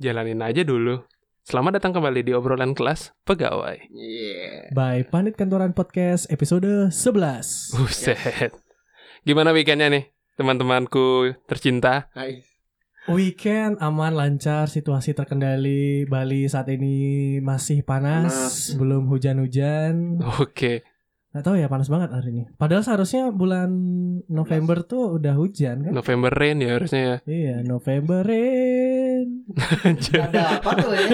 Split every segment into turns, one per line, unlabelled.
Jalanin aja dulu. Selamat datang kembali di obrolan kelas pegawai.
Iya.
By Panit Kantoran Podcast episode 11
Buset. Gimana weekendnya nih, teman-temanku tercinta?
Hai.
Weekend aman lancar situasi terkendali Bali saat ini masih panas
Panas.
Belum hujan-hujan
Oke.
Nggak tahu ya panas banget hari ini Padal seharusnya bulan November tuh udah hujan kan
November rain ya harusnya ya.
Iya November rain
Anjir,
Ada apa tuh ya?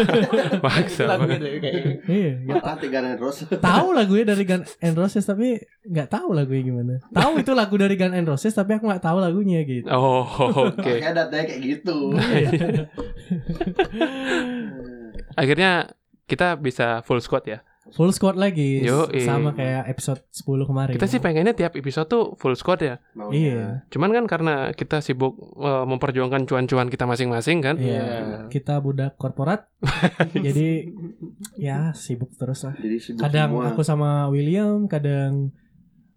Maksa
Lagunya
banget.
gitu ya,
tuh kayaknya.
Iya nggak
Mata Ya, tiga dan Rose.
tahu lagunya dari Gun N' Roses tapi nggak tahu lagunya gimana tahu itu lagu dari Gun N' Roses tapi aku nggak tahu lagunya gitu
Oh, oke.
Makanya datanya kayak gitu.
Iya.
Akhirnya kita bisa full squad ya.
full squad lagi
Yoi.
sama kayak episode 10 kemarin
Kita sih pengennya tiap episode tuh full squad ya.
Iya.
Cuman kan karena kita sibuk eh, memperjuangkan cuan-cuan kita masing-masing kan.
Iya. Kita budak korporat. jadi ya sibuk terus lah.
Jadi sibuk
Kadang
semua.
aku sama William, kadang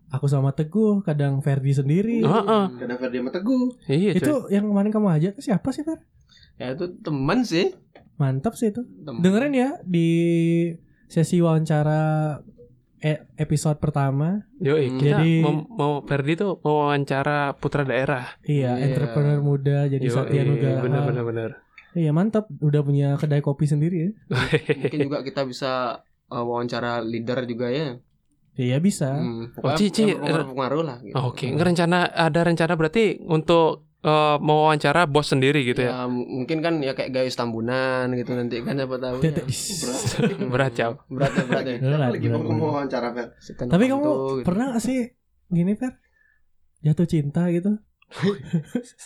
aku sama Teguh, kadang Ferdi sendiri.
Oh. Heeh.
Kadang Ferdi sama Teguh.
Iya, cuy.
Itu yang kemarin kamu ajak ke siapa sih, Fer?
Ya itu teman sih.
Mantap sih
Hmm.
itu.
Temen.
Dengerin ya di sesi wawancara e- episode pertama.
Yoi, kita
Hmm. Jadi-
mau, mau Ferdi tuh mau wawancara putra daerah.
Iya,
Iya.
entrepreneur muda jadi
Yoi,
Satya Nugraha.
bener bener bener.
Iya, mantap. Udah punya kedai kopi sendiri ya.
Mungkin juga kita bisa uh, wawancara leader juga ya.
Iya, bisa.
Hmm.
Oh, Cici,
pengaruh lah. Gitu.
Oh, Oke, ngerencana ada rencana berarti untuk eh, mau wawancara bos sendiri gitu ya.
Ya, m- mungkin kan ya kayak gayus tambunan gitu nanti kan siapa tahu. ya.
Tetek.
Hmm.
Berat, Cap.
Berat ya, berat ya.
Berat,
Lagi mau
berat, berat.
ngomong wawancara Fer.
Setan
Tapi
hantu,
kamu
gitu.
pernah gak sih gini Fer? Jatuh cinta gitu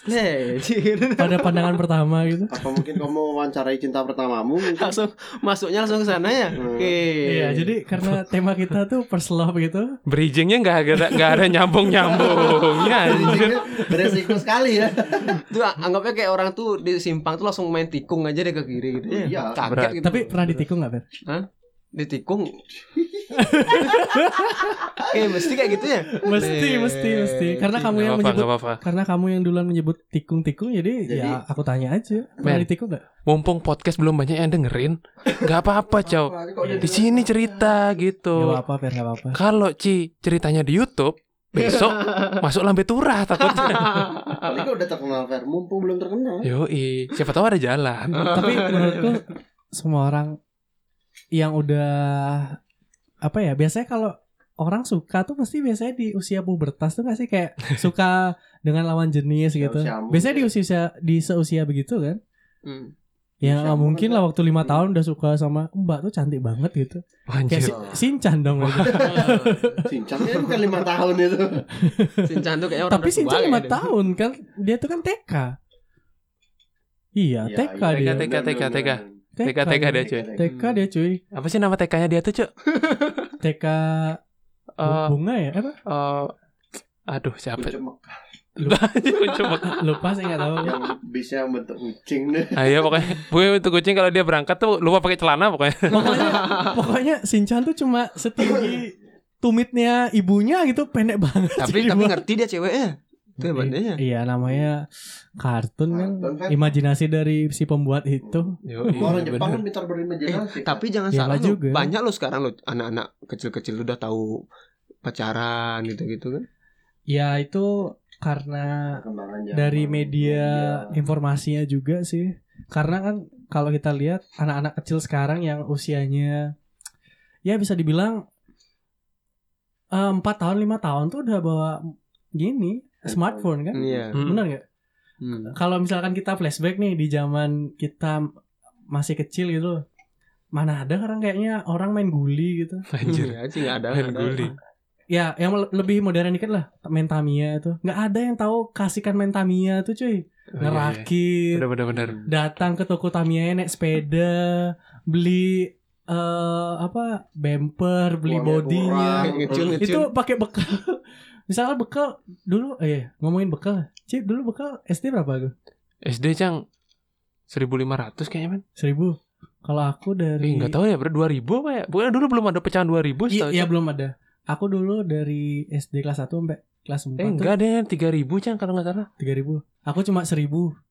Hei, Cir.
pada pandangan pertama gitu.
Apa mungkin kamu mau wawancarai cinta pertamamu? mungkin?
langsung masuknya langsung ke sana ya.
Hmm.
Oke.
Iya, jadi karena tema kita tuh first love gitu.
Bridgingnya nggak ada nggak ada nyambung nyambung ya. anjir.
Jadinya Beresiko sekali ya.
itu a- anggapnya kayak orang tuh di simpang tuh langsung main tikung aja deh ke kiri gitu. ya.
Iya.
Kaget
Berat.
gitu.
Tapi pernah ditikung gak Fer?
ditikung. Oke, mesti kayak gitu ya.
Mesti, mesti, mesti. Karena kamu
Nggak
yang
apa-apa,
menyebut
nggak apa-apa.
karena kamu yang duluan menyebut tikung-tikung jadi,
Jadi-
ya aku tanya aja. Pernah
Men.
ditikung gak?
Mumpung podcast belum banyak yang dengerin, nggak apa-apa cow.
Kok jadi-
Di sini cerita
Gak
gitu.
apa-apa Fer, gak apa-apa.
Kalau Ci ceritanya di YouTube, besok masuk lambe turah takutnya.
Paling kok udah terkenal Fer. Mumpung belum terkenal.
Yoi, siapa tahu ada jalan.
Tapi menurutku
Iya.
semua orang yang udah apa ya biasanya kalau orang suka tuh pasti biasanya di usia pubertas tuh pasti kayak suka dengan lawan jenis gitu.
Usia-usia muda.
Biasanya di usia di seusia begitu kan.
Hmm.
Ya
Usia Iya.
nggak
muda.
mungkin lah waktu lima tahun udah suka sama mbak tuh cantik banget gitu. Kayak
Anjir.
Iya.
si- sinchan dong. gitu.
Cincangnya bukan lima tahun itu.
Sinchan tuh kayaknya orang
Tapi
ya
udah tua gitu.
sinchan lima
kayaknya.
tahun kan dia tuh kan TK. Iya,
Iya,
TK
iya.
dia.
TK, TK, TK. TK, TK dia cuy.
TK dia cuy.
Apa sih nama TK-nya dia tuh, Cuk?
TK
Eh,
bunga ya apa?
eh, aduh, siapa?
Kucuk Mekah
Cuma
Lupa saya nggak tahu.
yang bisnya bentuk kucing deh.
Ah, iya pokoknya Pokoknya itu kucing kalau dia berangkat tuh lupa pakai celana pokoknya.
pokoknya pokoknya Shinchan tuh cuma setinggi tumitnya ibunya gitu pendek banget
Tapi
Jadi
tapi
buat-
ngerti dia ceweknya. Itu hebatnya.
iya namanya kartun kan
Kartun kan.
imajinasi dari si pembuat itu
Orang Jepang kan pintar berimajinasi.
Iya, Eh, tapi jangan
Iya
salah loh.
juga.
Banyak loh sekarang loh anak-anak kecil-kecil udah tahu pacaran gitu-gitu kan.
ya itu karena
Perkembangan zaman,
dari media
media.
informasinya juga sih karena kan kalau kita lihat anak-anak kecil sekarang yang usianya ya bisa dibilang eh, empat tahun lima tahun tuh udah bawa gini smartphone kan
Iya.
Hmm.
benar nggak
Hmm.
kalau misalkan kita flashback nih di zaman kita masih kecil gitu loh. mana ada orang kayaknya orang main guli gitu
Anjir.
Iya, sih nggak ada.
Main
nggak ada.
guli.
ya yang le- lebih modern dikit lah main Tamiya itu nggak ada yang tahu kasihkan main Tamiya tuh cuy
Iya, iya.
ngerakit
Bener bener bener.
datang ke toko Tamiya naik sepeda beli eh apa bumper beli
Uangnya
bodinya
kurang.
Ngecil ngecil.
itu pakai bekal misalnya bekal dulu eh ngomongin bekal Ci dulu bekal SD berapa tuh
SD Cang 1500 kayaknya men.
seribu kalau aku
Ih,
dari
enggak tahu ya, ber 2000 apa ya? Pokoknya dulu belum ada pecahan 2000
Iya,
setahu.
iya,
Cang.
belum ada. Aku dulu dari SD kelas 1 sampai kelas 4
Eh, enggak deh, 3000 Cang kalau enggak salah.
3000. Aku cuma 1000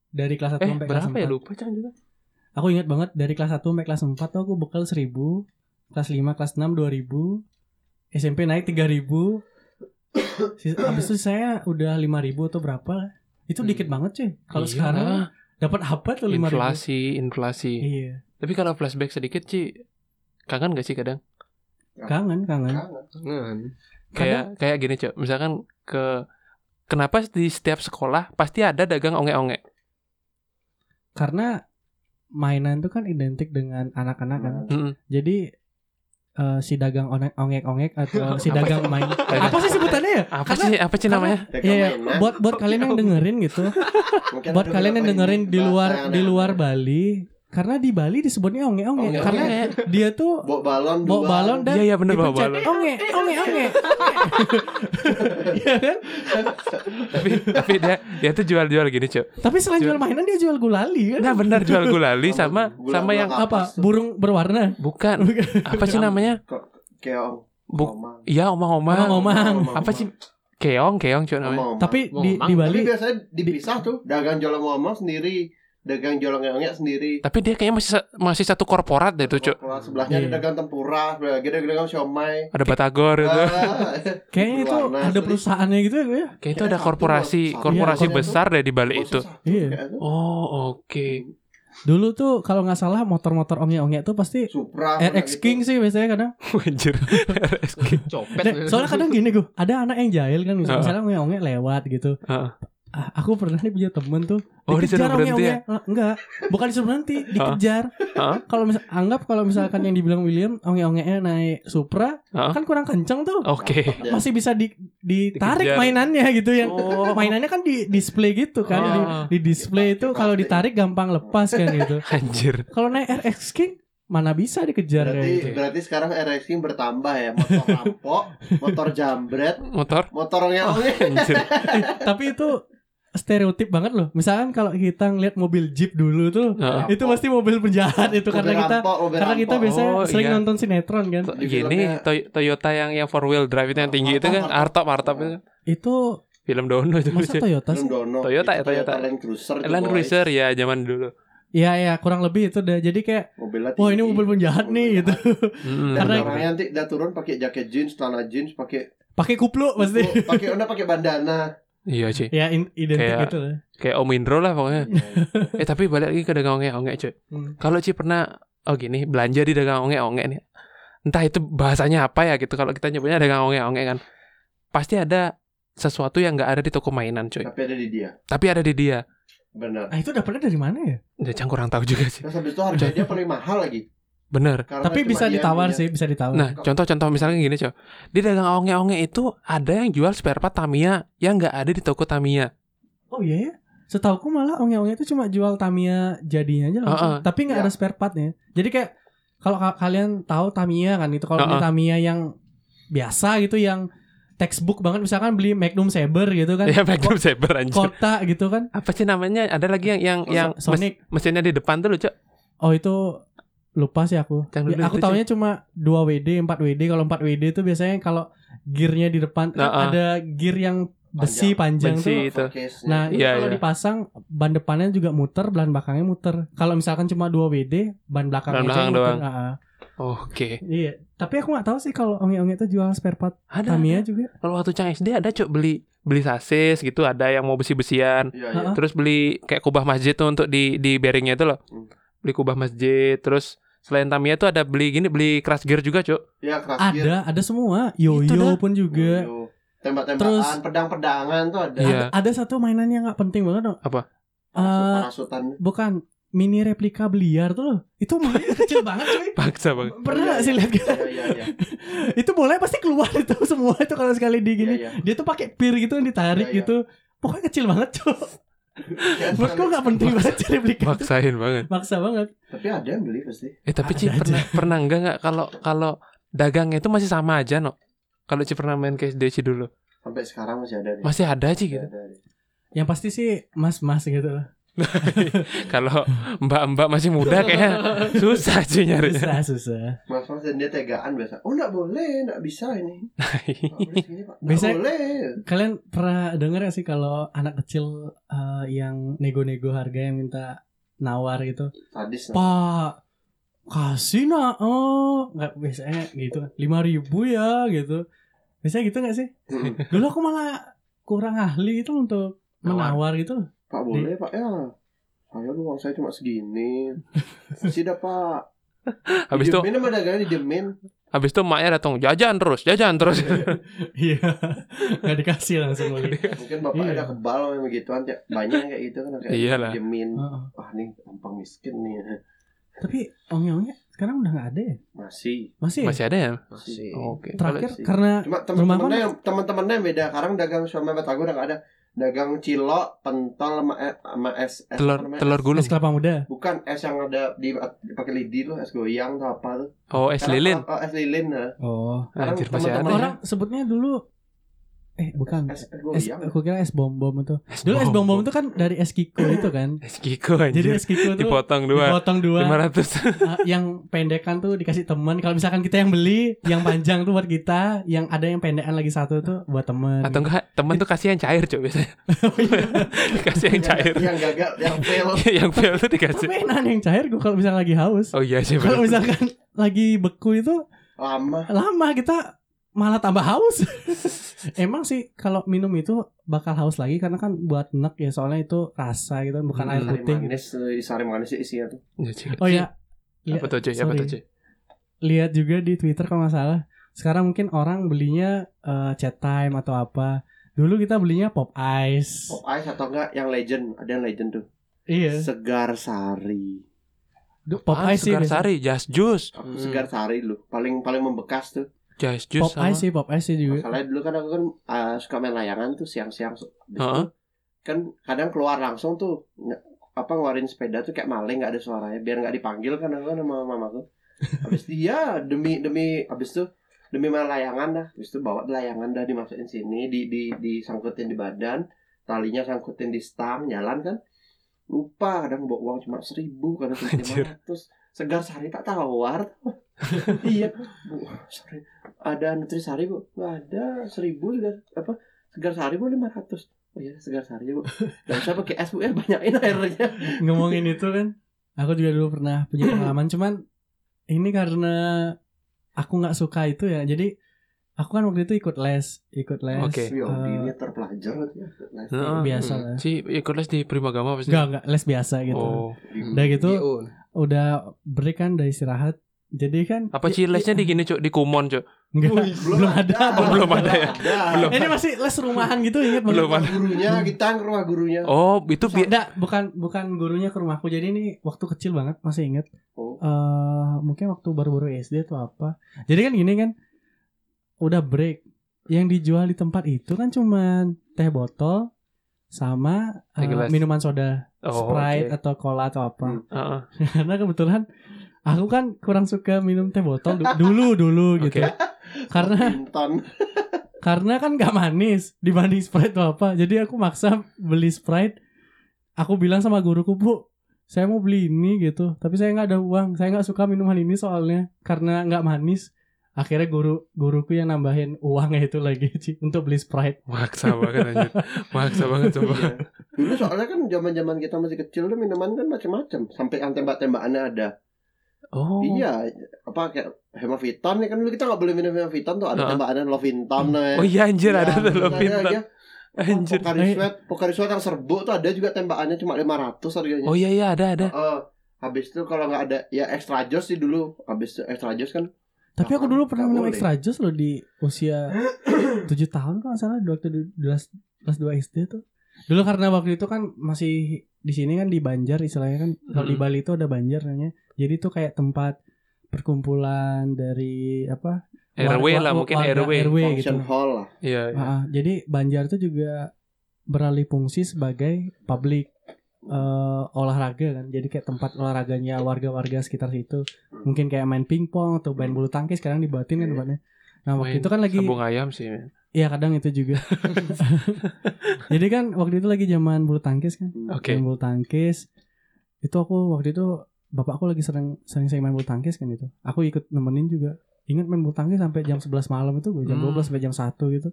dari kelas 1
Eh,
sampai kelas
berapa
4.
ya lupa Cang juga.
Aku ingat banget dari kelas 1 sampai kelas 4 tuh aku bekal 1000, kelas 5, kelas 6 2000, SMP naik 3000. Sis- Habis itu saya udah 5000 atau berapa? Itu
Hmm.
dikit banget cuy. Kalau
Iya,
sekarang
lah.
dapat apa tuh 5000?
inflasi, inflasi.
Iya.
Tapi kalau flashback sedikit sih kangen gak sih kadang?
Kangen, kangen.
Kangen.
Kangen.
Kayak kayak gini, Cok. Misalkan ke kenapa di setiap sekolah pasti ada dagang onge-onge?
Karena mainan tuh kan identik dengan anak-anak kan.
Mm-mm.
Jadi eh, si dagang one- ongek-ongek atau si dagang main
Apa-
apa sih sebutannya ya?
Apa
Karena-
sih apa sih namanya?
Dagang
Iya,
mainan.
buat buat kalian yang dengerin gitu,
Mungkin
buat
ada
kalian yang
beberapa
dengerin
ini
di luar
bahasa
di
yang
luar
ada.
Bali, karena di Bali disebutnya onge-onge
Onge-onge.
karena dia tuh
bawa balon
bawa
dua.
balon dan
Iya iya bener bawa
dipencet
balon.
onge onge onge. Iya kan?
tapi tapi dia dia tuh jual-jual gini, Cok.
Tapi selain jual mainan dia jual gulali kan?
Nah benar jual gulali sama
Gula-
sama
gula
yang
Apa
kapas tuh.
burung berwarna?
bukan apa sih namanya?
keong
Buk
Omang.
ya omang-omang.
Omang-omang.
Apa sih keong keong Cok namanya?
Omang-omang.
Tapi
Mau
di,
ngomong.
Tapi
di Bali
biasanya dipisah tuh dagang jualan mama sendiri, dagang jualan ngeongnya sendiri.
Tapi dia kayaknya masih sa- masih satu korporat deh tuh, Cok.
Kalau sebelahnya ada
Iya.
dagang tempura, lagi ada dagang siomay.
Ada Batagor itu.
Ah,
kayaknya itu
berwarna,
ada
terus
perusahaannya gitu ya. gue.
Kayaknya itu ada
Satu,
korporasi,
satu.
korporasi
Iya, kalau
besar deh di balik
bosnya
itu.
satu,
Iya.
kayak itu.
Oh, oke.
Dulu tuh kalau nggak salah motor-motor onge-onge tuh pasti
Supra kayak
RX
gitu.
Eh, King sih biasanya kadang.
Anjir. RSK.
Copet.
Nek, soalnya kadang gini gue, ada anak yang jahil kan, misalnya, misalnya onge-onge lewat gitu.
Heeh.
Ah, aku pernah nih punya temen tuh
Oh, disuruh berhenti
onge-onge. Ah, enggak, bukan disuruh berhenti, dikejar.
Heeh.
Kalau misal anggap kalau misalkan yang dibilang William onge-ongenya naik Supra,
Heeh.
kan kurang kenceng tuh.
Oke.
Ya.
Masih bisa di- ditarik
Dikejar.
mainannya gitu yang
Oh.
mainannya kan di display gitu kan, di,
Ah.
di display itu kalau ditarik gampang lepas kan gitu.
Anjir.
Kalau naik RX King mana bisa dikejar kayak
Berarti,
gitu.
berarti sekarang RX King bertambah ya, motor rampok, motor jambret,
Motor.
motor
Oh,
ngeongnya.
Anjir.
Eh, tapi itu stereotip banget loh. Misalkan kalau kita ngeliat mobil Jeep dulu tuh,
Heeh.
itu pasti mobil penjahat itu
Mobil
karena kita
rampok, mobil
karena kita
rampok.
biasanya
Oh,
sering
iya.
nonton sinetron kan.
To-
Di
Gini
filmnya-
Toy- Toyota yang yang four wheel drive itu yang tinggi itu kan Artop Artop itu
Itu
film Dono itu
masa Toyota
Belum
sih?
dono.
Toyota ya,
Itu
Toyota.
Land Cruiser. tuh,
Land
boy.
Cruiser ya zaman dulu.
Iya ya, kurang lebih itu udah. Jadi kayak
Mobilnya
wah ini
tinggi.
mobil penjahat
Mobil
nih
penjahat.
gitu.
Mm-mm.
Dan
Karena-
orangnya nanti udah turun pakai jaket jeans, celana jeans, pakai
Pakai kuplu pasti.
Oh, pakai udah pakai bandana.
Iya sih.
ya in- identik
Kayak-
gitu lah.
Kayak Om Indro lah pokoknya.
Iya,
Eh tapi balik lagi ke dagang onge-onge cuy.
Hmm.
Kalau Ci pernah oh gini belanja di dagang onge-onge nih. Entah itu bahasanya apa ya gitu kalau kita nyebutnya dagang onge-onge kan. Pasti ada sesuatu yang nggak ada di toko mainan cuy.
Tapi ada di dia.
Tapi ada di dia.
Benar.
Ah itu dapetnya dari mana ya?
Ya, Cang kurang tahu juga sih.
Terus habis itu harganya dia paling mahal lagi.
Bener.
Karena
Tapi
cuma
bisa
dia
ditawar
punya.
sih, bisa ditawar.
Nah, contoh-contoh misalnya gini, Cok. Di dagang onge-onge itu ada yang jual spare part Tamiya yang nggak ada di toko Tamiya.
Oh iya ya. Setauku malah onge-onge itu cuma jual Tamiya jadinya aja langsung.
Heeh.
Tapi nggak
Iya.
ada spare partnya. Jadi kayak kalau ka- kalian tahu Tamiya kan itu kalau beli
Heeh.
Tamiya yang biasa gitu yang textbook banget misalkan beli Magnum Saber gitu kan.
ya, Magnum Saber anjir.
Kota gitu kan.
Apa sih namanya? Ada lagi yang yang yang mes-
Sonic.
mesinnya di depan tuh, loh, Cok.
Oh itu lupa sih aku.
Yang
Ya,
dulu
aku
itu,
taunya cuma 2 WD, 4 WD. Kalau 4 WD itu biasanya kalau gearnya di depan kan
Heeh.
ada gear yang besi panjang,
Besi.
tuh
Gitu.
Forecast-nya.
Nah, itu
Iya,
kalau
iya.
dipasang ban depannya juga muter, ban belakangnya muter. Kalau misalkan cuma 2 WD, ban belakangnya
Ban
aja
belakang
yang muter.
doang.
Ah, ah.
Oke.
iya. Tapi aku nggak tahu sih kalau onge-onge itu jual spare part
Ada.
Tamiya juga.
Kalau waktu Cang SD ada, Cok, beli beli sasis gitu, ada yang mau besi-besian.
Iya, iya.
Hah?
Terus beli kayak kubah masjid tuh untuk di di bearingnya itu loh.
Hmm.
Beli kubah masjid, terus selain Tamiya tuh ada beli gini, beli crash gear juga, Cok.
Iya, keras gear.
Ada, ada semua. Yoyo
dah.
pun juga.
Yo, Tembak-tembakan,
Terus-
pedang-pedangan tuh ada.
Iya.
Ada satu mainan yang nggak penting banget dong.
Apa?
Eh,
Parasutan.
bukan mini replika biliar tuh loh. Itu mainan kecil banget cuy.
Paksa banget.
Pernah nggak sih lihat kan?
Iya, iya, iya.
itu bolanya pasti keluar itu semua itu kalau sekali di gini.
Iya, iya.
Dia tuh pakai pir gitu yang ditarik
Iya, iya.
gitu. Pokoknya kecil banget cuy.
Kayak
Menurutku nggak penting banget cari replika. itu.
Paksain banget.
Maksa banget.
Iya, Tapi ada yang beli pasti.
Eh tapi
Ada
Ci
aja.
pernah pernah enggak enggak kalau kalau dagangnya itu masih sama aja no? Kalau Ci pernah main ke SD Ci dulu
Sampai sekarang masih ada nih.
masih ada Ci gitu.
Ada, ada.
Yang pasti sih mas-mas gitu loh.
kalau mbak-mbak masih muda kayaknya susah Ci nyarinya.
Susah, susah.
Mas Mas dan dia tegaan biasa. Oh, enggak boleh, enggak bisa ini. Nggak boleh segini, Pak. Nggak
Biasanya-
boleh.
Kalian pernah denger gak sih kalau anak kecil eh, yang nego-nego harga yang minta nawar gitu
Sadis. nah.
pak kasih nah oh nggak biasanya gitu lima ribu ya gitu biasanya gitu nggak sih
Mm-mm.
dulu aku malah kurang ahli itu untuk
Nawar.
menawar gitu loh.
Pak boleh pak ya. Saya lu uang saya cuma segini. Sudah pak.
Habis itu
Diemin sama dagangan diemin.
habis itu emaknya datang jajan terus, jajan terus.
iya nggak dikasih langsung lagi
Mungkin bapaknya
Iya.
ada kebal sama yang begituan kayak banyak yang kayak gitu kan kayak
Iyalah.
diemin.
Heeh.
Wah nih gampang miskin nih.
tapi ongnya sekarang udah nggak ada ya
Masih.
masih, ya?
Masih ada ya?
Masih.
Oke.
terakhir
Masih.
karena
Cuma
Rumah
teman-temannya yang teman-temannya yang beda. Sekarang dagang sama batagor udah nggak ada. Dagang cilok, pentol sama, e- sama es, es
Eh,
apa
Telur
namanya?
telur gulung.
es kelapa muda
Bukan es yang ada di pakai lidi loh, es goyang atau apa tuh.
Oh, es
Sekarang-
lilin.
Oh, es lilin nah.
oh
sekarang
Anjir masih ada.
teman-teman
ya?
orang sebutnya dulu eh bukan
Es,
es,
es goyang.
aku kira es bom bom itu dulu es bom bom itu kan dari es kiko itu kan
Es kiko
jadi
anjir.
es kiko itu
Dipotong dua.
dipotong dua
500.
Ah, yang pendekan tuh dikasih teman kalau misalkan kita yang beli yang panjang tuh buat kita yang ada yang pendekan lagi satu tuh buat teman
Atau enggak temen tuh kasih yang cair coba biasanya.
Oh, iya.
Dikasih yang
Yang-
cair.
Yang gagal, yang fail.
yang fail tuh dikasih.
tapi enak yang cair gue kalau misalkan lagi haus
Oh iya sih.
kalau
bener.
misalkan lagi beku itu
Lama.
lama kita malah tambah haus emang sih kalau minum itu bakal haus lagi karena kan buat nek ya soalnya itu rasa gitu bukan air
Hmm.
Sari
putih
manis, eh, sari manis sih isinya tuh.
Ya, Ci.
oh ya
Apa tuh cuy? Apa
Sorry.
tuh cuy?
lihat juga di Twitter kalau nggak salah. Sekarang mungkin orang belinya eh, chat time atau apa. Dulu kita belinya pop ice.
Oh,
Pop ice Oh, atau enggak yang legend, ada yang legend tuh.
Iya.
Segar sari.
Du- Pop
Ah,
ice sih.
segar
biasa.
sari, jas jus,
Aku
Hmm.
segar sari loh, paling paling membekas tuh.
jas jus
Pop
sama.
ice sih, pop ice sih juga.
Masalahnya dulu kan aku kan eh, suka main layangan tuh siang-siang. Habis itu
Heeh.
Kan kadang keluar langsung tuh nge- apa ngeluarin sepeda tuh kayak maling nggak ada suaranya biar nggak dipanggil kan aku kan sama mamaku. Habis dia demi demi habis tuh demi main layangan dah. Habis itu bawa layangan dah dimasukin sini di di disangkutin di badan, talinya sangkutin di stang jalan kan. Lupa kadang bawa uang cuma seribu kadang cuma
Anjir.
lima ratus. Segar sehari tak tawar. iya, bu, sorry ada nutrisari bu nggak ada seribu juga apa segar sehari bu lima ratus oh iya segar sehari bu nggak usah pakai es bu ya banyakin airnya
Ngomongin itu kan. Aku juga dulu pernah punya pengalaman cuman ini karena aku nggak suka itu ya. Jadi aku kan waktu itu ikut les, ikut les.
Oke. Ah,
Yo,
eh,
Ya ini terpelajar ya. Nah,
Heeh.
Biasa lah.
Si ikut les di Primagama pasti.
Iya. Enggak, enggak, les biasa gitu.
Oh,
Udah gitu
GO.
udah break kan udah istirahat. Jadi kan
apa sih lesnya di gini, Cuk? Di Kumon, Cuk.
Enggak,
Wih,
belum, ada.
Oh, belum ada ya? Belum.
Ini masih les rumahan gitu ingat banget.
Belum ada.
gurunya kita ke rumah gurunya
Oh, itu bi-
Enggak, bukan bukan gurunya ke rumahku. Jadi ini waktu kecil banget masih inget.
Oh.
Eh, mungkin waktu baru-baru SD atau apa. Jadi kan gini kan udah break. Yang dijual di tempat itu kan cuman teh botol sama eh,
Teh gelas.
minuman soda,
oh, oke.
Sprite
Hmm.
atau cola atau apa.
Heeh.
Karena kebetulan aku kan kurang suka minum teh botol du- dulu dulu gitu.
Oke.
Karena
Intan
Karena kan gak manis dibanding Sprite atau apa. Jadi aku maksa beli Sprite. Aku bilang sama guruku, Bu, saya mau beli ini gitu. Tapi saya nggak ada uang. Saya nggak suka minuman ini soalnya. Karena nggak manis. Akhirnya guru guruku yang nambahin uangnya itu lagi Ci, untuk beli Sprite.
Maksa banget anjir. Maksa banget coba.
Iya. dulu soalnya kan zaman zaman kita masih kecil tuh minuman kan macam-macam sampai yang tembak-tembakannya ada
Oh.
iya apa kayak hemavitan ya kan dulu kita nggak boleh minum hemavitan tuh ada
Heeh.
tembakannya lovintan ya.
Oh iya anjir ada tuh lo
ada
pintar.
aja.
Anjir.
Pokari Sweat, Pokari Sweat yang serbuk tuh ada juga tembakannya cuma 500 harganya.
Oh iya iya ada ada.
Heeh. habis itu kalau nggak ada ya extra joss sih dulu. Habis itu extra joss kan
Tapi aku
Nah,
dulu pernah
nggak
minum
boleh.
extra juice loh di usia 7 tahun kalau nggak salah. di Waktu di- kelas, kelas 2 SD tuh. Dulu karena waktu itu kan masih di sini kan di Banjar istilahnya kan. Kalau di
Mm-mm.
Bali itu ada Banjar namanya. Jadi itu kayak tempat perkumpulan dari apa
RW
warga-
lah mungkin
warga
RW.
RW gitu.
function hall lah.
Iya. iya.
Ah, jadi Banjar itu juga beralih fungsi sebagai public eh, olahraga kan. Jadi kayak tempat olahraganya warga-warga sekitar situ. Mungkin kayak main pingpong atau main bulu tangkis sekarang dibatin kan tempatnya. Nah, waktu
Iya. Main
itu kan lagi
Sambung ayam sih.
iya kadang itu juga. jadi kan waktu itu lagi zaman bulu tangkis kan.
Oke.
Main bulu tangkis. Itu aku waktu itu bapakku lagi sering sering sering main bulu tangkis kan itu. Aku ikut nemenin juga. Ingat main bulu tangkis sampai jam 11 malam itu gue jam
Hmm.
12 sampai jam
Hmm.
1 gitu.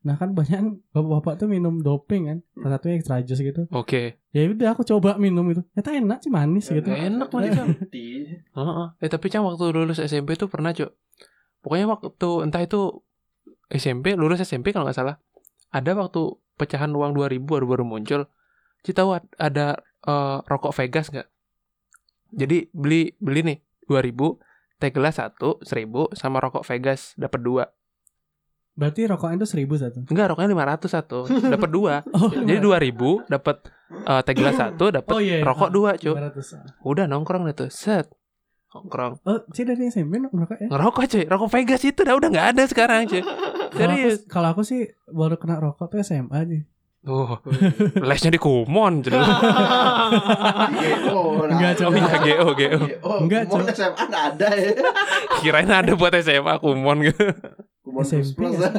Nah kan banyak bapak-bapak tuh minum doping kan. Salah satunya extra jus gitu.
Oke.
ya udah aku coba minum itu ternyata enak sih manis gitu
Nggak enak mah itu.
Di-
Heeh. Eh, tapi Cang waktu lulus SMP tuh pernah, Cuk. Pokoknya waktu entah itu SMP, lulus SMP kalau nggak salah. Ada waktu pecahan uang 2000 baru baru muncul. Ci tahu ad- ada eh, rokok Vegas nggak? Jadi beli beli nih 2000, teh gelas 1, 1000 sama rokok Vegas dapat 2.
berarti rokoknya itu seribu satu
Enggak, rokoknya 500 satu, dapat 2.
oh
Jadi 2000 dapat eh, teh gelas 1, dapat
Oh, iya, iya.
rokok 2, Cuk.
500.
Udah nongkrong deh tuh, set. Nongkrong.
oh sih dari SMP ngerokok ya
ngerokok cuy rokok Vegas itu udah udah nggak ada sekarang cuy
Kalau aku-
serius
kalau aku sih baru kena rokok tuh SMA aja
oh lesnya di Kumon jelas
GO, nah. oh,
Nggak,
oh
coba.
iya GO GO
GO.
Nggak,
Kumon
coba.
SMA nggak ada ya.
kirain ada buat SMA Kumon gitu
Kumon plus
SMP.
plus. ya.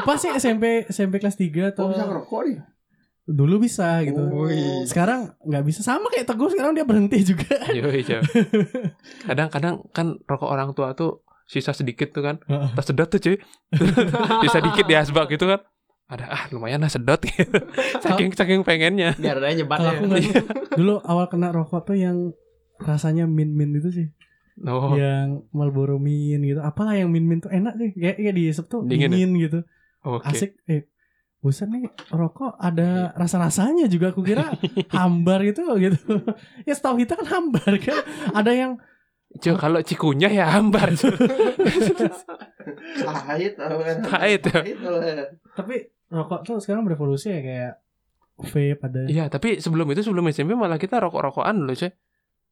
lupa sih SMP SMP kelas 3
Oh
atau
bisa ngerokok nih.
dulu bisa gitu
Oh.
sekarang nggak bisa sama kayak teguh sekarang dia berhenti juga
Yoi, cuy kadang-kadang kan rokok orang tua tuh sisa sedikit tuh kan
Heeh.
tas sedot tuh cuy sisa dikit di asbak gitu kan ada ah lumayan lah sedot gitu. saking saking pengennya
Biar ada nyebat
iya.
kalau
ya.
aku nggak dulu awal kena rokok tuh yang rasanya min min itu sih
oh
yang Marlboro Min gitu. Apalah yang Min Min tuh enak sih. Kayak kayak dihisap tuh
Dingin
dingin,
ya?
gitu.
Oh, oke
Asik. Eh, buset nih rokok ada rasa-rasanya juga aku kira hambar gitu gitu. ya setahu kita kan hambar kan. Ada yang
cuy kalau cikunya ya hambar cuy.
Pahit. apa kan?
Pahit, ya.
Pahit, apa.
tapi rokok tuh sekarang berevolusi ya kayak vape ada.
Iya, tapi sebelum itu sebelum SMP malah kita rokok-rokokan dulu, cuy.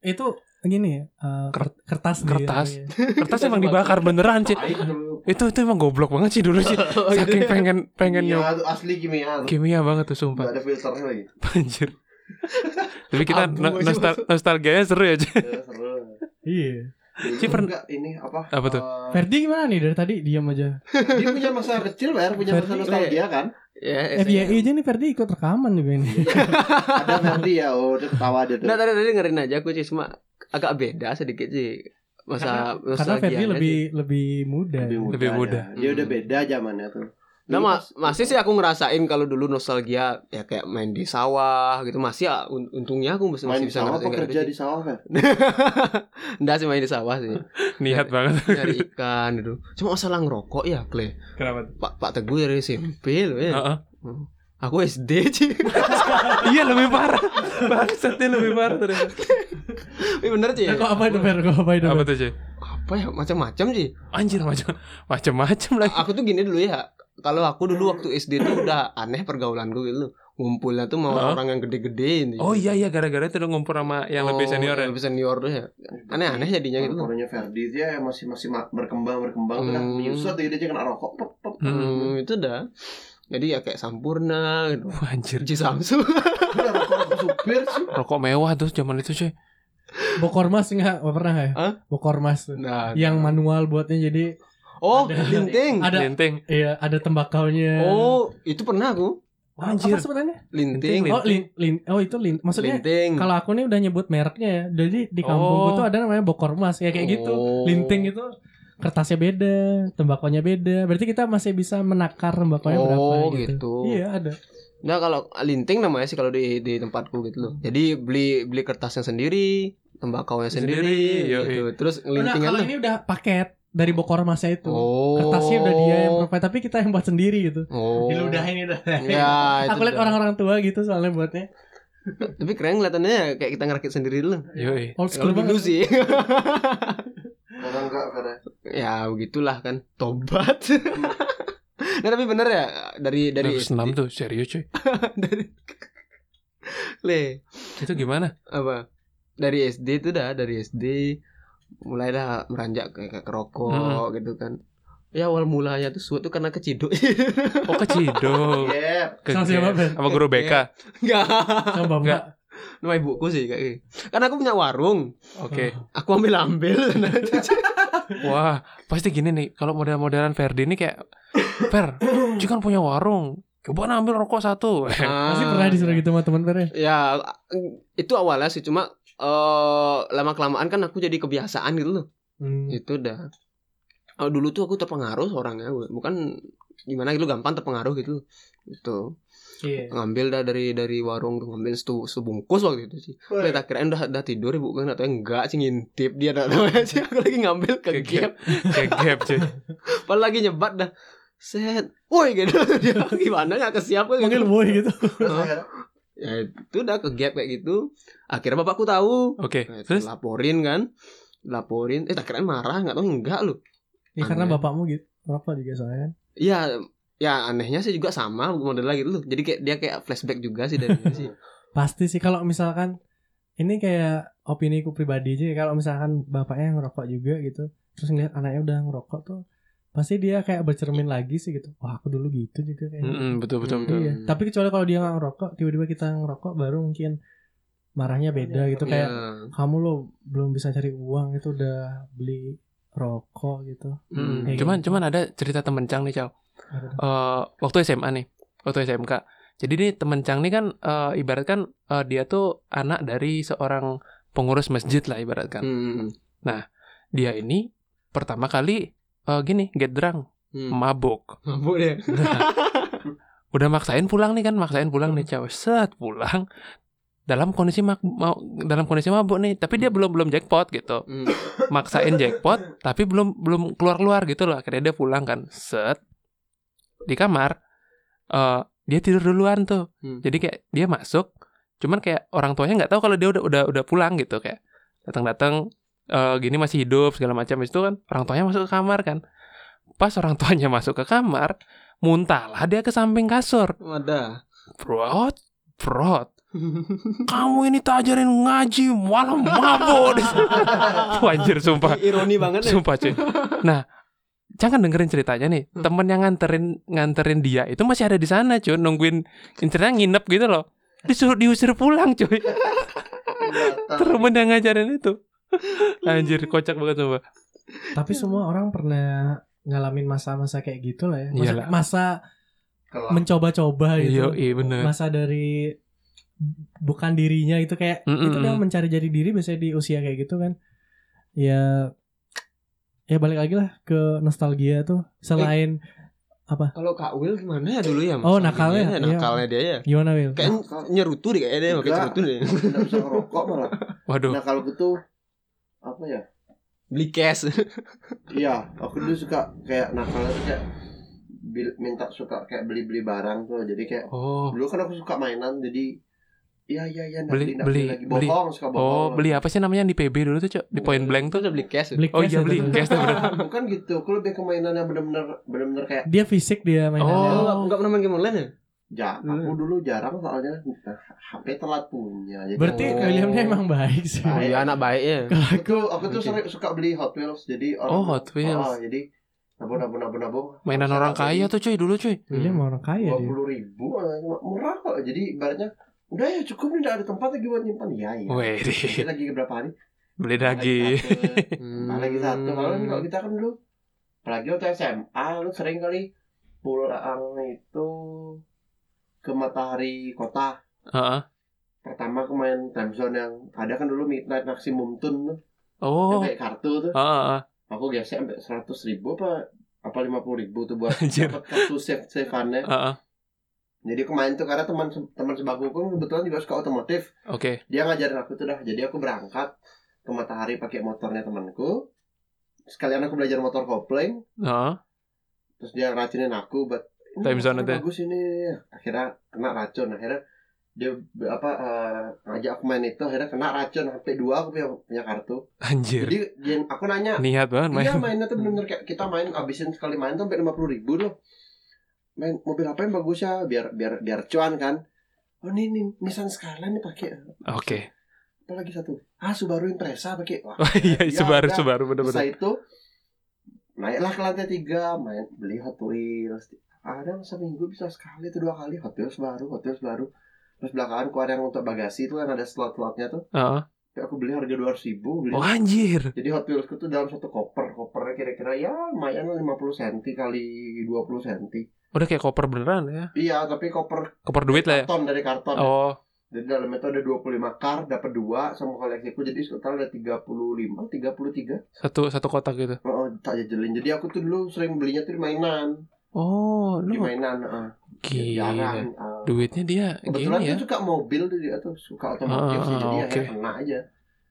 Itu gini ya, eh,
Kert-
kertas Iya.
kertas.
dia.
Kertas emang dibakar beneran, cuy.
Pahit dulu.
itu itu emang goblok banget sih dulu sih
Oh,
Oh, iya.
iya.
saking pengen pengen nyoba
Kimia Iya, tuh, asli kimia. tuh.
kimia banget tuh
Nggak
sumpah
ada filternya lagi.
anjir tapi kita
Abu
no-
aja
nostal nostalgianya seru ya Ci.
Ya, seru.
Iya.
Ci, pern-
Enggak, ini apa?
Apa tuh?
Eh,
Ferdi gimana nih dari tadi diam aja.
dia punya masa kecil, Fer, punya masa
Ferdi.
nostalgia kan?
Ya,
Eh, iya aja nih Ferdi ikut rekaman juga ini.
Ada Ferdi ya, oh, dia ketawa dia tuh.
Nah tadi tadi dengerin aja aku sih cuma agak beda sedikit sih
Karena
masa
Ferdi
nostalgianya
lebih
sih.
lebih muda.
Lebih muda.
ya. Dia udah beda zamannya tuh. Dulu
Nah ma-
pas-
masih sih aku ngerasain kalau dulu nostalgia ya kayak main di sawah gitu masih ya, un- untungnya aku masih,
main di
masih bisa
sawah
ngerasain
apa
kayak
kerja
gitu
di
sih.
sawah kan?
Nggak sih main di sawah sih
niat banget
nyari ikan gitu cuma masalah ngerokok ya Kle
kenapa
Pak Pak Teguh dari SMP loh ya
Heeh.
aku SD sih
iya lebih parah bangsatnya lebih parah ternyata
Ini bener sih ya?
Nah, Kok apa itu Fer? Kok apa itu?
apa
Fer?
tuh cuy
apa ya macam-macam sih
anjir macam macam macam lagi
aku tuh gini dulu ya kalau aku
Hmm.
dulu waktu SD tuh udah aneh pergaulanku gitu ngumpulnya tuh
Oh.
mau
Heeh.
orang yang gede-gede ini.
oh iya iya gara-gara itu udah ngumpul sama yang lebih
Oh,
senior ya
yang lebih senior tuh ya aneh-aneh jadinya gitu
Kalau Ferdi dia yang ya, masih masih ma- berkembang berkembang tuh kan
Hmm.
menyusut dia dia kena rokok. Pop, pop.
Hmm.
Hmm, itu dah jadi ya kayak sampurna gitu
Wah,
Iya.
anjir
Uji Samsu
Udah rokok rokok supir sih.
rokok mewah tuh zaman itu cuy
Bokormas enggak Nggak pernah ya?
Hah?
Bokormas tuh.
nah
Yang manual buatnya jadi
oh
Iya. Ada-
linting
ada
linting
iya ada tembakaunya.
oh itu pernah aku
Wah,
anjir.
anjir
Apa sebenarnya?
linting
Linting.
Oh, lin, lin, oh itu lin. Maksudnya
linting
kalau aku nih udah nyebut mereknya ya. Jadi di
Oh.
kampung itu ada namanya Bokormas ya kayak gitu.
Oh.
Linting itu kertasnya beda, tembakonya beda. Berarti kita masih bisa menakar tembakonya berapa
oh
gitu.
gitu
Iya, ada.
Nah kalau linting namanya sih kalau di di tempatku gitu
Hmm.
loh. Jadi beli beli kertasnya sendiri, tembakaunya sendiri,
Sendiri, yoi.
gitu. Terus
Nah,
lintingan
kalau
tuh.
ini udah paket dari Bokormasnya itu.
Oh.
Kertasnya udah dia yang provide, tapi kita yang buat sendiri gitu.
Oh.
Diludahin udah.
Ya, itu
Aku lihat
udah.
orang-orang tua gitu soalnya buatnya.
Tapi keren kelihatannya ya, kayak kita ngerakit sendiri dulu.
yoi
Old
Kalau
school
dulu
banget.
sih.
Orang enggak karena
ya begitulah kan. Tobat. nah tapi bener ya dari dari
dari senam tuh serius cuy
dari le
itu gimana
apa dari SD itu dah dari SD mulai dah meranjak ke, ke rokok
Hmm.
gitu kan ya awal mulanya tuh suatu karena keciduk
oh keciduk
Iya.
Yep.
Sama siapa, Ben?
sama guru
Iya.
BK
enggak
Sama Bapak.
Enggak.
nama ibuku sih kayak gini. karena aku punya warung
oke
aku ambil ambil
Wah, pasti gini nih. Kalau model-modelan Ferdi ini kayak Fer, Ci kan punya warung. Coba ambil rokok satu.
Pasti pernah disuruh gitu sama teman Fer ya?
ya itu awalnya sih cuma eh lama kelamaan kan aku jadi kebiasaan gitu loh Eh,
Hmm.
itu dah Oh, dulu tuh aku terpengaruh orangnya bukan gimana gitu gampang terpengaruh gitu gitu
Iya.
ngambil dah dari dari warung tuh ngambil setu sebungkus waktu itu sih Udah tak kirain udah, udah tidur ibu kan atau enggak sih ngintip dia dah tahu sih aku lagi ngambil ke
Kegep.
gap
Kegep cuy.
padahal lagi nyebat dah set woi gitu dia gimana nggak kesiap kan
Panggil boy gitu.
Terus
oh.
akhirnya-
ya itu udah ke gap kayak gitu akhirnya bapakku tahu
Oke,
Nah, itu
terus
laporin kan laporin eh tak kirain marah nggak tahu enggak lu
Ya karena
Aneh.
bapakmu gitu. Rokok juga soalnya kan.
Iya, ya anehnya sih juga sama model lagi tuh. Jadi kayak dia kayak flashback juga sih dari dia sih.
Pasti sih kalau misalkan ini kayak opini ku pribadi aja ya, kalau misalkan bapaknya ngerokok juga gitu terus ngeliat anaknya udah ngerokok tuh pasti dia kayak bercermin lagi sih gitu wah aku dulu gitu juga kayak
Mm-mm, betul betul betul.
Iya.
Hmm.
Tapi kecuali kalau dia nggak ngerokok, tiba-tiba kita ngerokok baru mungkin marahnya beda gitu kayak
Iya.
kamu lo belum bisa cari uang itu udah beli rokok gitu.
Hmm.
Mm-mm.
Kayak
Cuman
gitu.
cuman ada cerita temen Cang nih, Cao.
Apa tuh?
Eh, waktu SMA nih, waktu SMK. Jadi nih temen Cang nih kan eh, ibaratkan eh, dia tuh anak dari seorang pengurus masjid lah ibaratkan.
Hmm.
Dia ini pertama kali eh, gini, get drunk,
Hmm.
mabuk.
Mabuk dia.
Udah maksain pulang nih kan, maksain pulang nih Cao. Set pulang dalam kondisi mak- mau dalam kondisi mabuk nih, tapi dia belum belum jackpot gitu.
Hmm.
maksain jackpot tapi belum belum keluar keluar gitu loh akhirnya dia pulang kan set di kamar eh dia tidur duluan tuh
Hmm.
jadi kayak dia masuk cuman kayak orang tuanya nggak tahu kalau dia udah udah udah pulang gitu kayak datang datang gini masih hidup segala macam Habis itu kan orang tuanya masuk ke kamar kan pas orang tuanya masuk ke kamar muntahlah dia ke samping kasur
Ada.
brot brot kamu ini tak ajarin ngaji malah mabuk Wajar sumpah
Ironi banget ya.
Sumpah cuy. Nah, jangan dengerin ceritanya nih.
Hmm.
Temen yang nganterin nganterin dia itu masih ada di sana cuy, nungguin internet nginep gitu loh. Disuruh diusir pulang cuy. Temen yang ngajarin itu. Anjir, kocak banget coba.
Tapi semua orang pernah ngalamin masa-masa kayak gitu lah ya. Masa,
Iyalah.
masa
Kelam.
mencoba-coba
Iya,
gitu.
iya bener.
Masa dari bukan dirinya itu kayak
Mm-mm.
itu udah mencari jadi diri biasanya di usia kayak gitu kan. Ya ya balik lagi lah ke nostalgia tuh selain
Kalau Kak Will gimana ya dulu ya?
Oh, nakalnya,
masalahnya dia ya,
iya.
Nakalnya dia ya.
gimana Will?
Kayak nyerutu deh kayaknya dia pakai
Enggak.
cerutu deh.
Nggak bisa ngerokok malah
Waduh.
nah kalau gitu apa ya
Beli cash.
Iya, aku dulu suka kayak nakalnya tuh kayak bil- minta suka kayak beli-beli barang tuh. Jadi kayak
Oh,
dulu kan aku suka mainan jadi iya iya iya nak
Beli-
nak
beli,
lagi
beli.
bohong suka
oh
bohong.
beli apa sih namanya yang di PB dulu tuh, Cok? Di Point Blank tuh.
udah beli cash.
Beli
Oh
cash
iya
ya,
beli,
bener.
cash tuh bener.
Bukan, bukan gitu. Aku lebih ke mainan yang bener-bener bener-bener kayak
dia fisik dia mainannya.
Oh.
Oh, enggak pernah main game online ya?
ja, aku
Hmm.
dulu jarang soalnya nah, HP telat punya. Jadi
Berarti
Oh.
Williamnya emang baik sih.
Oh,
Baik.
Iya, anak baik ya.
Kalau
aku
aku
tuh, aku tuh
Oke.
sering suka beli Hot Wheels. Jadi orang
Oh, Hot Wheels.
Oh, jadi nabung nabung nabung nabung.
Mainan orang kaya tuh Iya, cuy dulu cuy.
Hmm.
William orang kaya
dua
dia.
puluh ribu eh, murah kok jadi ibaratnya udah ya cukup nih udah ada tempat lagi buat nyimpan ya ya
Weh,
Jadi lagi berapa hari
beli lagi.
Balik
Hmm.
lagi satu kalau kan kalau kita kan dulu apalagi waktu SMA lu sering kali pulang itu ke matahari kota
Heeh.
pertama kemarin time zone yang ada kan dulu midnight maximum tun tuh, yang
Oh.
kayak kartu tuh
Heeh. heeh.
aku gesek sampai seratus ribu apa apa lima puluh ribu tuh buat
Anjir.
dapat kartu save saveannya
Heeh.
jadi kemarin tuh karena teman teman sebangku kan kebetulan juga suka otomotif
Oke.
dia ngajarin aku tuh dah jadi aku berangkat ke Matahari pakai motornya temanku sekalian aku belajar motor kopling
Heeh.
terus dia racinin aku buat ini
Time zone
motornya
itu.
bagus ini akhirnya kena racun akhirnya dia be- apa eh, ngajak aku main itu akhirnya kena racun sampai dua aku punya, punya kartu
Anjir.
jadi dia, aku nanya
Niat banget main.
iya mainnya tuh bener-bener kayak kita main abisin sekali main tuh sampai lima puluh ribu loh main mobil apa yang bagus ya biar biar biar cuan kan oh ini nih Nissan Skyline nih pakai
Oke.
apalagi satu ah Subaru Impreza pakai wah
Wah, iya,
Iya,
Subaru,
udah.
Subaru
setelah
bener-bener.
itu naiklah ke lantai tiga main beli Hot Wheels ada seminggu bisa sekali tuh dua kali Hot Wheels baru Hot Wheels baru terus belakangan keluar yang untuk bagasi itu kan ada slot-slotnya tuh
Heeh.
Tapi aku beli harga dua ribu beli.
Oh anjir.
jadi Hot Wheels itu dalam satu koper kopernya kira-kira ya lumayan 50 cm kali 20 cm
Udah kayak koper beneran ya.
iya tapi koper
Koper duit lah ya.
karton dari karton
Oh,
Jadi dalam itu ada 25 kar, dapat dua sama koleksiku jadi total ada 35, 33.
satu satu kotak gitu.
Oh, tak jajelin. Jadi aku tuh dulu sering belinya tuh di mainan.
Oh,
di
lu
mainan heeh. Di
gila.
jarang, heeh.
Duitnya dia
kebetulan
gini
dia
ya.
suka mobil tuh dia tuh suka otomotif
Ah,
sih jadi
ah,
akhirnya
oke.
kena aja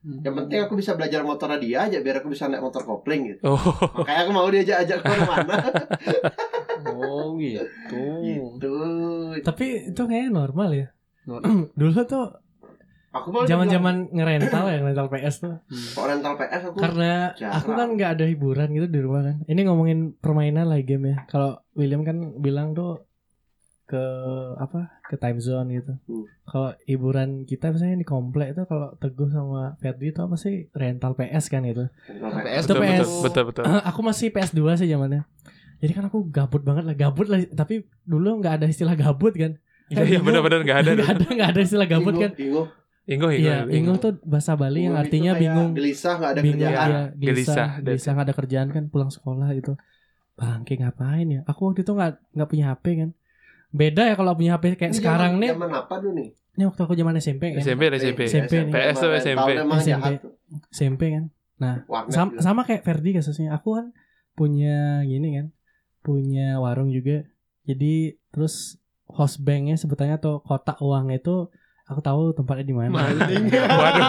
Hmm.
yang penting aku bisa belajar motor dia aja biar aku bisa naik motor kopling gitu
Oh,
makanya aku mau diajak ajak kemana-mana
Oh gitu.
gitu
Tapi itu kayaknya normal ya.
Normal.
Dulu tuh
aku malah
zaman-zaman ngerental ya ngerental PS tuh.
dibilang, kok rental PS aku
Karena
jarang.
aku kan nggak ada hiburan gitu di rumah kan. Ini ngomongin permainan lah game ya. Kalau William kan bilang tuh ke apa ke time zone gitu.
Hmm.
Kalau hiburan kita misalnya di komplek tuh kalau Teguh sama Ferdi tuh apa sih rental PS kan gitu.
rental
PS
Itu
betul, betul,
PS.
betul, betul.
aku masih PS2 sih zamannya. Jadi kan aku gabut banget lah, gabut lah. Tapi dulu nggak ada istilah gabut kan.
Iya, iya, benar-benar nggak ada.
Nggak ada nggak ada istilah gabut
Bingung,
kan.
bingung.
Ingo, ingo,
Iya, ingo tuh bahasa Bali
Bingung
yang
itu
artinya
kayak
bingung.
gelisah nggak ada
bingung
kerjaan
ya,
Gelisah,
gelisah,
that's
gelisah nggak ada kerjaan kan pulang sekolah gitu. Bangke ngapain ya? Aku waktu itu nggak nggak punya HP kan. Beda ya kalau punya HP kayak
Ini
sekarang
zaman-
nih.
zaman apa dulu nih
Ini waktu aku zaman SMP kan.
SMP, SMP.
SMP nih.
PS tuh SMP.
emang
SMP.
jahat tuh.
SMP kan.
Iya. Warnet
Sam-
juga.
sama kayak Ferdi kasusnya. Aku kan punya gini kan. Punya warung juga. Jadi terus host banknya sebutannya atau kotak uangnya itu aku tahu tempatnya di mana.
Maling.
Waduh,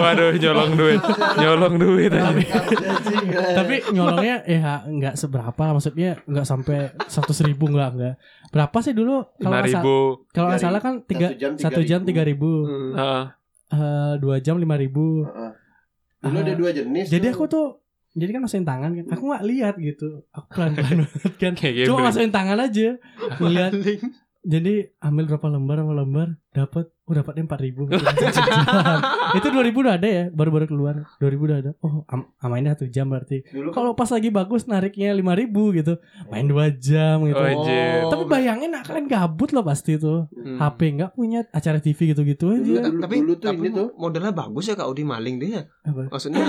waduh, nyolong duit, nyolong duit.
Tapi-
Anjing, eh.
tapi nyolongnya ya nggak seberapa lah. maksudnya nggak sampai seratus ribu nggak nggak berapa sih dulu kalau
Lima
nggak sa-
ribu.
kalau nggak
Tiga
salah kan tiga
jam
satu jam tiga ribu
Hmm.
Heeh.
Eh, dua jam lima ribu
Heeh. dulu ada dua jenis
Ah. jadi
tuh.
aku tuh jadi kan masukin tangan kan aku nggak lihat gitu aku pelan pelan banget kan
Kayak
cuma
gambling.
masukin tangan aja lihat
Maling.
jadi ambil berapa lembar berapa lembar dapat oh dapatnya empat ribu itu dua ribu udah ada ya baru baru keluar dua ribu udah ada oh am amainnya satu jam berarti
dulu kan
kalau pas lagi bagus nariknya lima ribu gitu main dua jam gitu
Oh, Anjir.
tapi bayangin nah, kalian gabut loh pasti tuh
Hmm.
HP nggak punya acara TV gitu-gitu
Iya.
Dulu-
aja
dulu-
tapi
dulu tuh
tapi
ini tuh.
modelnya bagus ya kak Udi maling dia
Apa?
maksudnya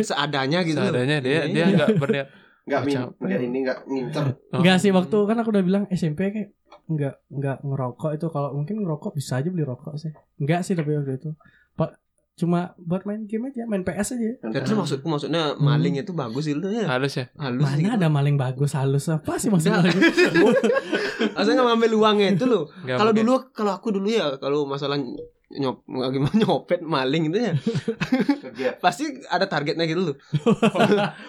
seadanya gitu loh.
Seadanya dia dia
Iya.
nggak berniat.
nggak min
Capek.
nggak ini nggak ngincer
Oh.
nggak sih waktu kan aku udah bilang SMP kayak nggak nggak ngerokok itu kalau mungkin ngerokok bisa aja beli rokok sih nggak sih tapi waktu itu Pak cuma buat main game aja main PS
Iya.
aja
Dan itu maksudku maksudnya maling itu bagus gitu ya.
Halus ya.
Halus
mana
gitu.
ada maling bagus halus apa sih maksudnya
Maksudnya ngambil uangnya itu loh.
Nggak
Kalau
pakai.
dulu kalau aku dulu ya kalau masalah nyop gimana nyopet maling gitu ya
Kegiatan.
pasti ada targetnya gitu loh.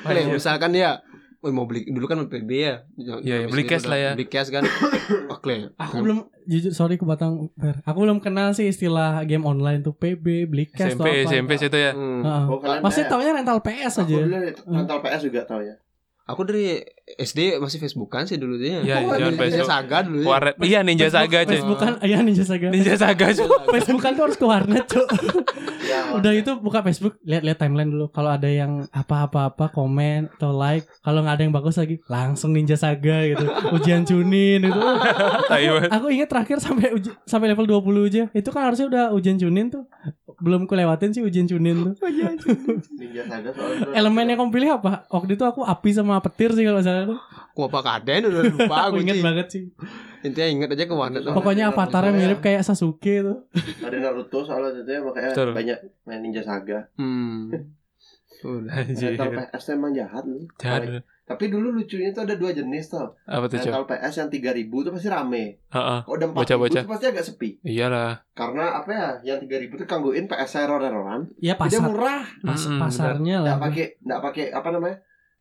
Kayak misalkan ya "Woi, mau beli dulu kan PB ya.
Iya, iya, beli cash
Habis itu udah
lah ya.
Beli cash kan. Oke.
aku belum jujur sorry aku batang Fer. aku belum kenal sih istilah game online tuh PB beli cash
SMP,
atau apa.
SMP situ ya.
Hmm.
Heeh.
Oh, kalian
Pasti
kayak-
taunya rental PS
Aku
aja.
dulu rental PS juga tau ya.
Aku dari SD masih Facebookan sih dulu ya.
Iya,
Aku
iya,
Ninja
Facebook.
Saga dulu ya.
Warnet. Iya Ninja Saga aja.
Facebookan, iya Ninja Saga.
Ninja Saga aja.
Facebookan tuh harus ke warnet, Cuk.
Ya,
Udah itu buka Facebook, lihat-lihat timeline dulu. Kalau ada yang apa-apa-apa komen atau like, kalau nggak ada yang bagus lagi, langsung Ninja Saga gitu. Ujian Junin itu.
Taiwan.
Aku ingat terakhir sampai uji, sampai level 20 aja. Itu kan harusnya udah ujian Junin tuh. Belum kulewatin sih ujian Junin tuh.
Ninja Saga soalnya. dulu-
Elemen yang kamu pilih apa? Waktu itu aku api sama petir sih kalau nggak salah tuh.
Aku apa kaden udah lupa
Aku
aku.
ingat
Ci.
banget sih.
Intinya ingat aja ke warnet. lah.
Pokoknya avatarnya mirip kayak Sasuke tuh.
Ada Naruto soalnya itu ya makanya
Betul.
banyak main Ninja Saga.
Hmm. Udah.
Anjir.
Rental PS tuh emang jahat lu.
Iya, Jahat.
Tapi dulu lucunya tuh ada dua jenis tuh.
Apa tuh, Cok?
Rental PS yang 3000 tuh pasti rame.
Heeh.
Kalau udah 4000
Bocah-bocah.
tuh pasti agak sepi.
Iyalah.
Karena apa ya? Yang 3000 tuh gangguin PS error-erroran. Dia
Ya pasar,
murah. Nah,
pas-
Mm-mm,
pasarnya lah.
Enggak pakai enggak pakai apa namanya?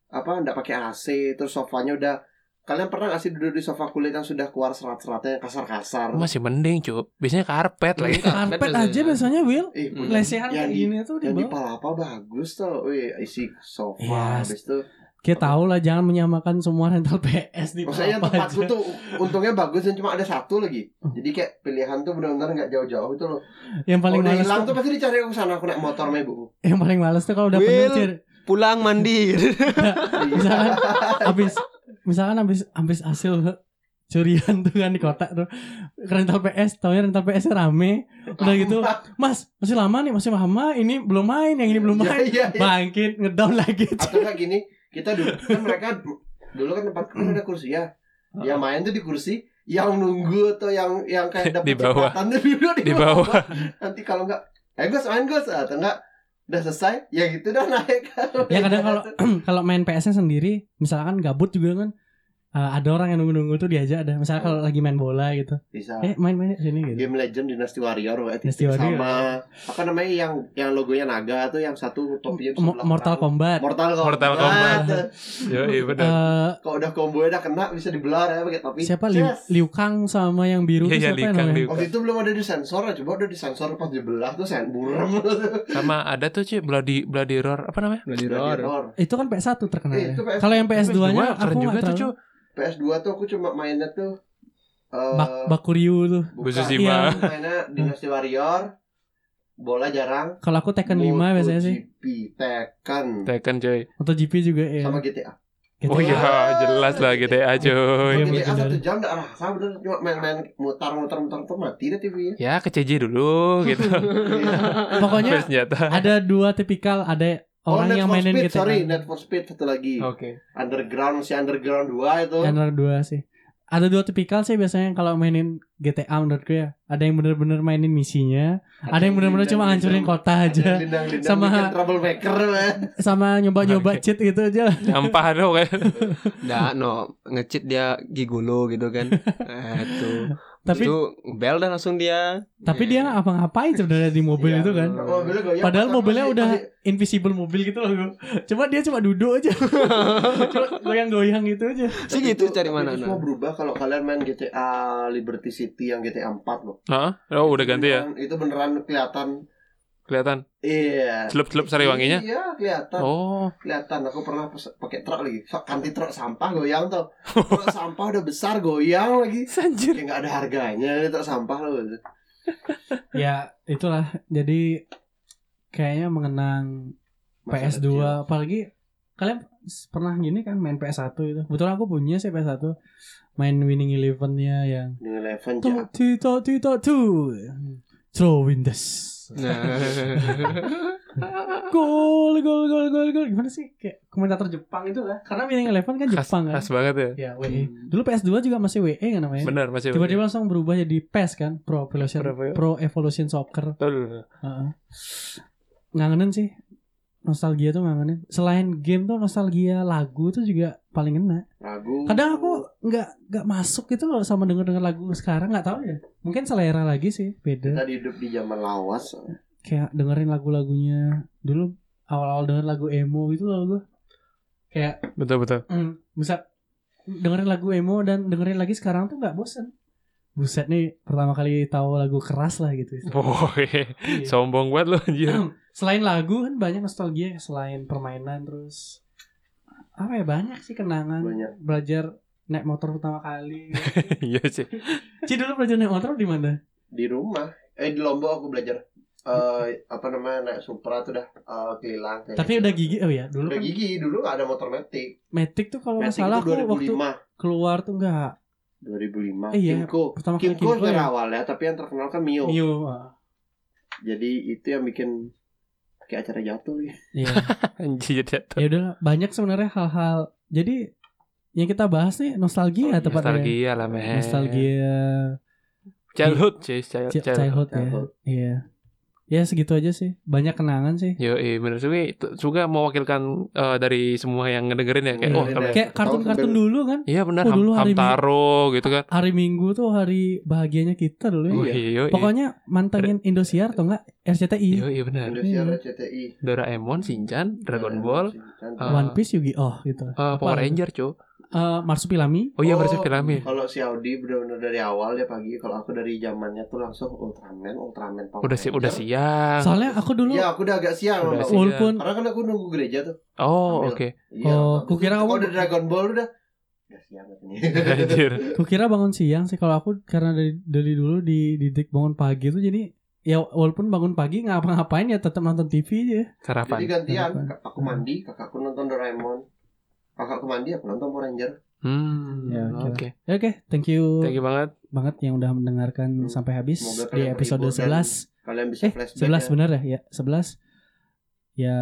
Apa enggak pakai AC, terus sofanya udah Kalian pernah nggak sih duduk di sofa kulit yang sudah keluar serat-seratnya yang kasar-kasar?
Masih mending, Cuk. Biasanya karpet lagi.
Karpet aja biasanya Will
Eh,
Hmm.
punya- Yang
lesehan kayak
di-
gini tuh di
Yang di
bawah.
Palapa bagus tuh, wih isi sofa,
Iya.
habis itu.
Kita tahu lah jangan menyamakan semua rental PS di
Maksudnya yang
Palapa
tempatku
aja. Oh.
tuh untungnya bagus dan cuma ada satu lagi. Jadi kayak pilihan tuh benar-benar nggak jauh-jauh itu loh.
Yang
Kalau
paling
udah
males
hilang
tuh,
tuh pasti dicari aku sana aku naik motor sama ibuku.
yang paling males tuh kalau udah
Will.
penuh Cir.
Pulang mandi.
misalkan habis misalkan habis habis hasil curian tuh kan di kota tuh rental PS taunya rental PS -nya rame udah gitu mas masih lama nih masih lama ini belum main yang ini belum
Iya,
main
iya, iya.
bangkit ngedown lagi Cir.
Atau nggak gini, kita dulu kan mereka dulu kan tempat kan ada kursi ya. Yang main tuh di kursi, yang nunggu atau yang yang kayak dapat
Di bawah.
kesempatan tuh dulu di,
Di
bawah.
bawah.
Nanti kalau nggak, eh Gus main Gus atau nggak udah selesai, ya gitu dah naik.
ya kadang kalau kalau main PS-nya sendiri misalkan gabut juga kan eh, ada orang yang nunggu-nunggu tuh diajak ada. Misalnya kalau lagi main bola gitu.
bisa
Eh main-main sini gitu.
game legend Dynasty Warrior kayak gitu.
Dynasty Warrior. ya.
sama apa namanya yang yang logonya naga tuh yang satu topinya
Mo-
sebelah
Mortal
perang.
Kombat.
Mortal Kombat
Mortal Kombat. Yo, iya benar.
Eh,
kalau udah combo udah kena bisa dibelar ya pakai topi
siapa Liu,
Yes.
Liu Kang sama yang biru
Iya,
tuh
iya,
siapa
Liu Kang,
namanya?
Liu Kang.
Waktu itu belum ada di sensor, coba udah di sensor pas dibelah tuh sen buram.
Sama ada tuh cuy Bloody Bloody Roar apa namanya?
Bloody Roar.
Error.
Itu kan PS1 terkenal.
Eh,
ya.
itu PS1.
Kalau yang PS2-nya
Wah, keren
aku
juga
enggak
tuh
terlalu.
cuy.
PS2 tuh aku cuma mainnya tuh eh
Bak Bakuryu tuh.
bukan.
Bushisimba.
Iya.
Aku mainnya Dynasty Warrior, bola jarang,
Kalau aku Tekken
Oh,
5 biasanya sih.
MotoGP, Tekken,
Tekken cuy.
Atau GP juga ya.
sama GTA.
Gitu.
Oh iya, jelas lah GTA
Oh,
coy.
iya,
GTA
bener.
satu jam nggak rasa bener cuma main-main mutar-mutar-mutar tuh mati deh TV-nya.
Ya ke CJ dulu gitu.
Pokoknya
Sampai senjata.
ada dua tipikal ada orang yang
Oh, for
mainin
Speed,
gitu
sorry,
kan.
Net for Speed satu lagi.
Oke.
Underground si Underground 2 itu.
Genre dua sih. Ada dua tipikal sih biasanya kalau mainin GTA menurut gue ya. Ada yang bener-bener mainin misinya, ada yang bener-bener cuma hancurin kota aja, Sama-
sama troublemaker. man.
sama nyoba-nyoba
Oke.
cheat gitu aja. lah.
Nyampah dong kan.
Nah, no ngecit dia gigolo gitu kan. Eh, itu.
Tapi
itu bel dan langsung dia.
tapi dia nggak apa-ngapain sebenarnya di mobil
Iya,
itu kan.
bener.
Nah, Mobilnya ya, goyang,
Padahal
pas-
mobilnya
pas-
udah
pas-
invisible mobil gitu loh. Cuma dia cuma duduk aja. cuma goyang-goyang gitu aja.
sih
Tapi
gitu
itu-
cari
tapi
mana.
itu semua berubah kalau kalian main GTA Liberty City yang GTA 4 loh.
Hah? Oh udah ganti ya.
Beneran- Itu beneran kelihatan.
Kelihatan.
Iya.
Celup-celup Sariwanginya?
Iya, kelihatan.
Oh.
Kelihatan aku pernah pes- pakai truk lagi. Sok kanti truk sampah goyang tuh. Truk sampah udah besar goyang lagi.
Sanjir.
Kayak nggak ada harganya ini truk sampah loh.
ya, itulah. Jadi kayaknya mengenang
Masa
PS2
kecil.
apalagi kalian pernah gini kan main PS1 itu betul aku punya sih PS1 main Winning Eleven-nya yang
Dengan Eleven ya.
to to to to to throw in this
Nah.
gol gol gol gol gol gimana sih kayak komentator Jepang itu lah karena Winning Eleven kan
Khas,
Jepang kan
khas banget ya.
ya WE dulu PS2 juga masih WE kan namanya
Benar masih. E.
tiba-tiba langsung berubah jadi PES kan Pro Evolution
Pro Evolution.
Pro Evolution Soccer
Betul.
Heeh. Ngangenin sih Nostalgia tuh ngangenin Selain game tuh nostalgia lagu tuh juga paling enak
Ragu.
Kadang aku nggak nggak masuk gitu loh sama denger-denger lagu sekarang nggak tahu ya Mungkin selera lagi sih beda
kita hidup di zaman lawas.
Iya. Kayak dengerin lagu-lagunya Dulu awal-awal denger lagu emo gitu loh gue Kayak
Betul betul.
mm, Bisa dengerin lagu emo dan dengerin lagi sekarang tuh nggak bosen Buset nih pertama kali tahu lagu keras lah gitu
Woi,
Iya.
sombong banget lo anjir.
selain lagu kan banyak nostalgia selain permainan terus apa ya banyak sih kenangan
Banyak.
belajar naik motor pertama kali
Iya sih.
Ci dulu belajar naik motor di mana
di rumah eh di lombok aku belajar eh apa namanya naik supra tuh dah eh, keliling kayak
tapi
gitu.
udah gigi oh ya dulu
udah
kan
gigi dulu nggak ada motor metik
metik tuh kalau nggak
metik
salah
itu
aku waktu
2005
keluar tuh nggak
2005
Eh, iya.
Kimco
pertama kali
Kimco
Kimco
dari
ya.
awal ya tapi yang terkenal kan Mio.
Mio ah.
jadi itu yang bikin kayak acara jatuh ya
Iya.
Anjir jatuh.
ya udah banyak sebenarnya hal-hal jadi yang kita bahas nih nostalgia
Oh,
tepatnya
Nostalgia lah men.
nostalgia
Childhood, cuy, child-
ci-
child-
childhood ya
childhood.
iya ya segitu aja sih banyak kenangan sih
Yo, iya bener sih. Itu Juga mewakilkan eh, dari semua yang ngedengerin ya kayak
Iya,
oh,
iya.
tapi
kayak kartun-kartun dulu kan
Iya benar,
Oh,
Ham-
dulu hari Minggu.
Hamtaro gitu kan.
hari Minggu tuh hari bahagianya kita dulu ya.
Oh, iya. Pokoknya
Pokoknya mantengin Indosiar atau enggak RCTI,
Yo, iya benar.
Indonesia
Iya.
CTI
Doraemon, Shinchan,
Iya,
Dragon Ball,
Shinchan.
Ah.
One Piece, Yu-Gi-Oh
eh,
gitu.
Power
Apa?
Ranger, cuy.
Eh, Marsupilami.
Oh iya,
Oh,
versi Pilami.
kalau si Audi benar-benar dari awal ya pagi kalau aku dari zamannya tuh langsung Ultraman Ultraman Power
Udah si udah
Iya.
Ranger.
siang.
Soalnya aku dulu
Iya, aku udah agak siang.
Udah
Bang.
siang.
walaupun
Karena kan aku nunggu gereja tuh.
Oh,
Ambil.
oke.
Oh,
Iya, Bang.
kukira kamu-
Kalau udah Dragon Ball udah. Udah siang ini.
Anjir.
kukira bangun siang sih kalau aku karena dari dari dulu dididik bangun pagi tuh jadi ya walaupun bangun pagi ngapa-ngapain ya tetap nonton TV aja.
Sarapan.
Iya.
Jadi gantian,
Kenapa?
aku mandi, kakakku nonton Doraemon. Kakakku mandi, aku nonton Power Ranger.
Hmm.
Ya, oke.
Oke.
Ya, Oke, thank you
Thank you banget.
banget yang udah
Hmm.
mendengarkan sampai habis
Semoga
di
kalian
episode
terhibur dan
11.
Kalian bisa
Eh,
flashback.
11
ya.
benar ya? Ya, 11. Ya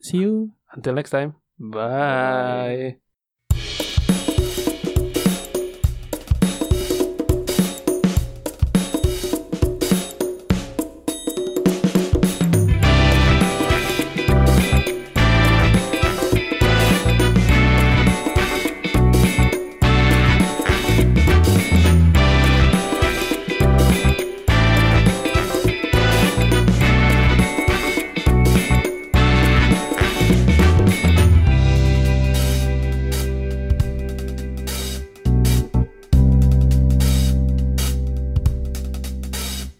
see you
Until next time. Bye.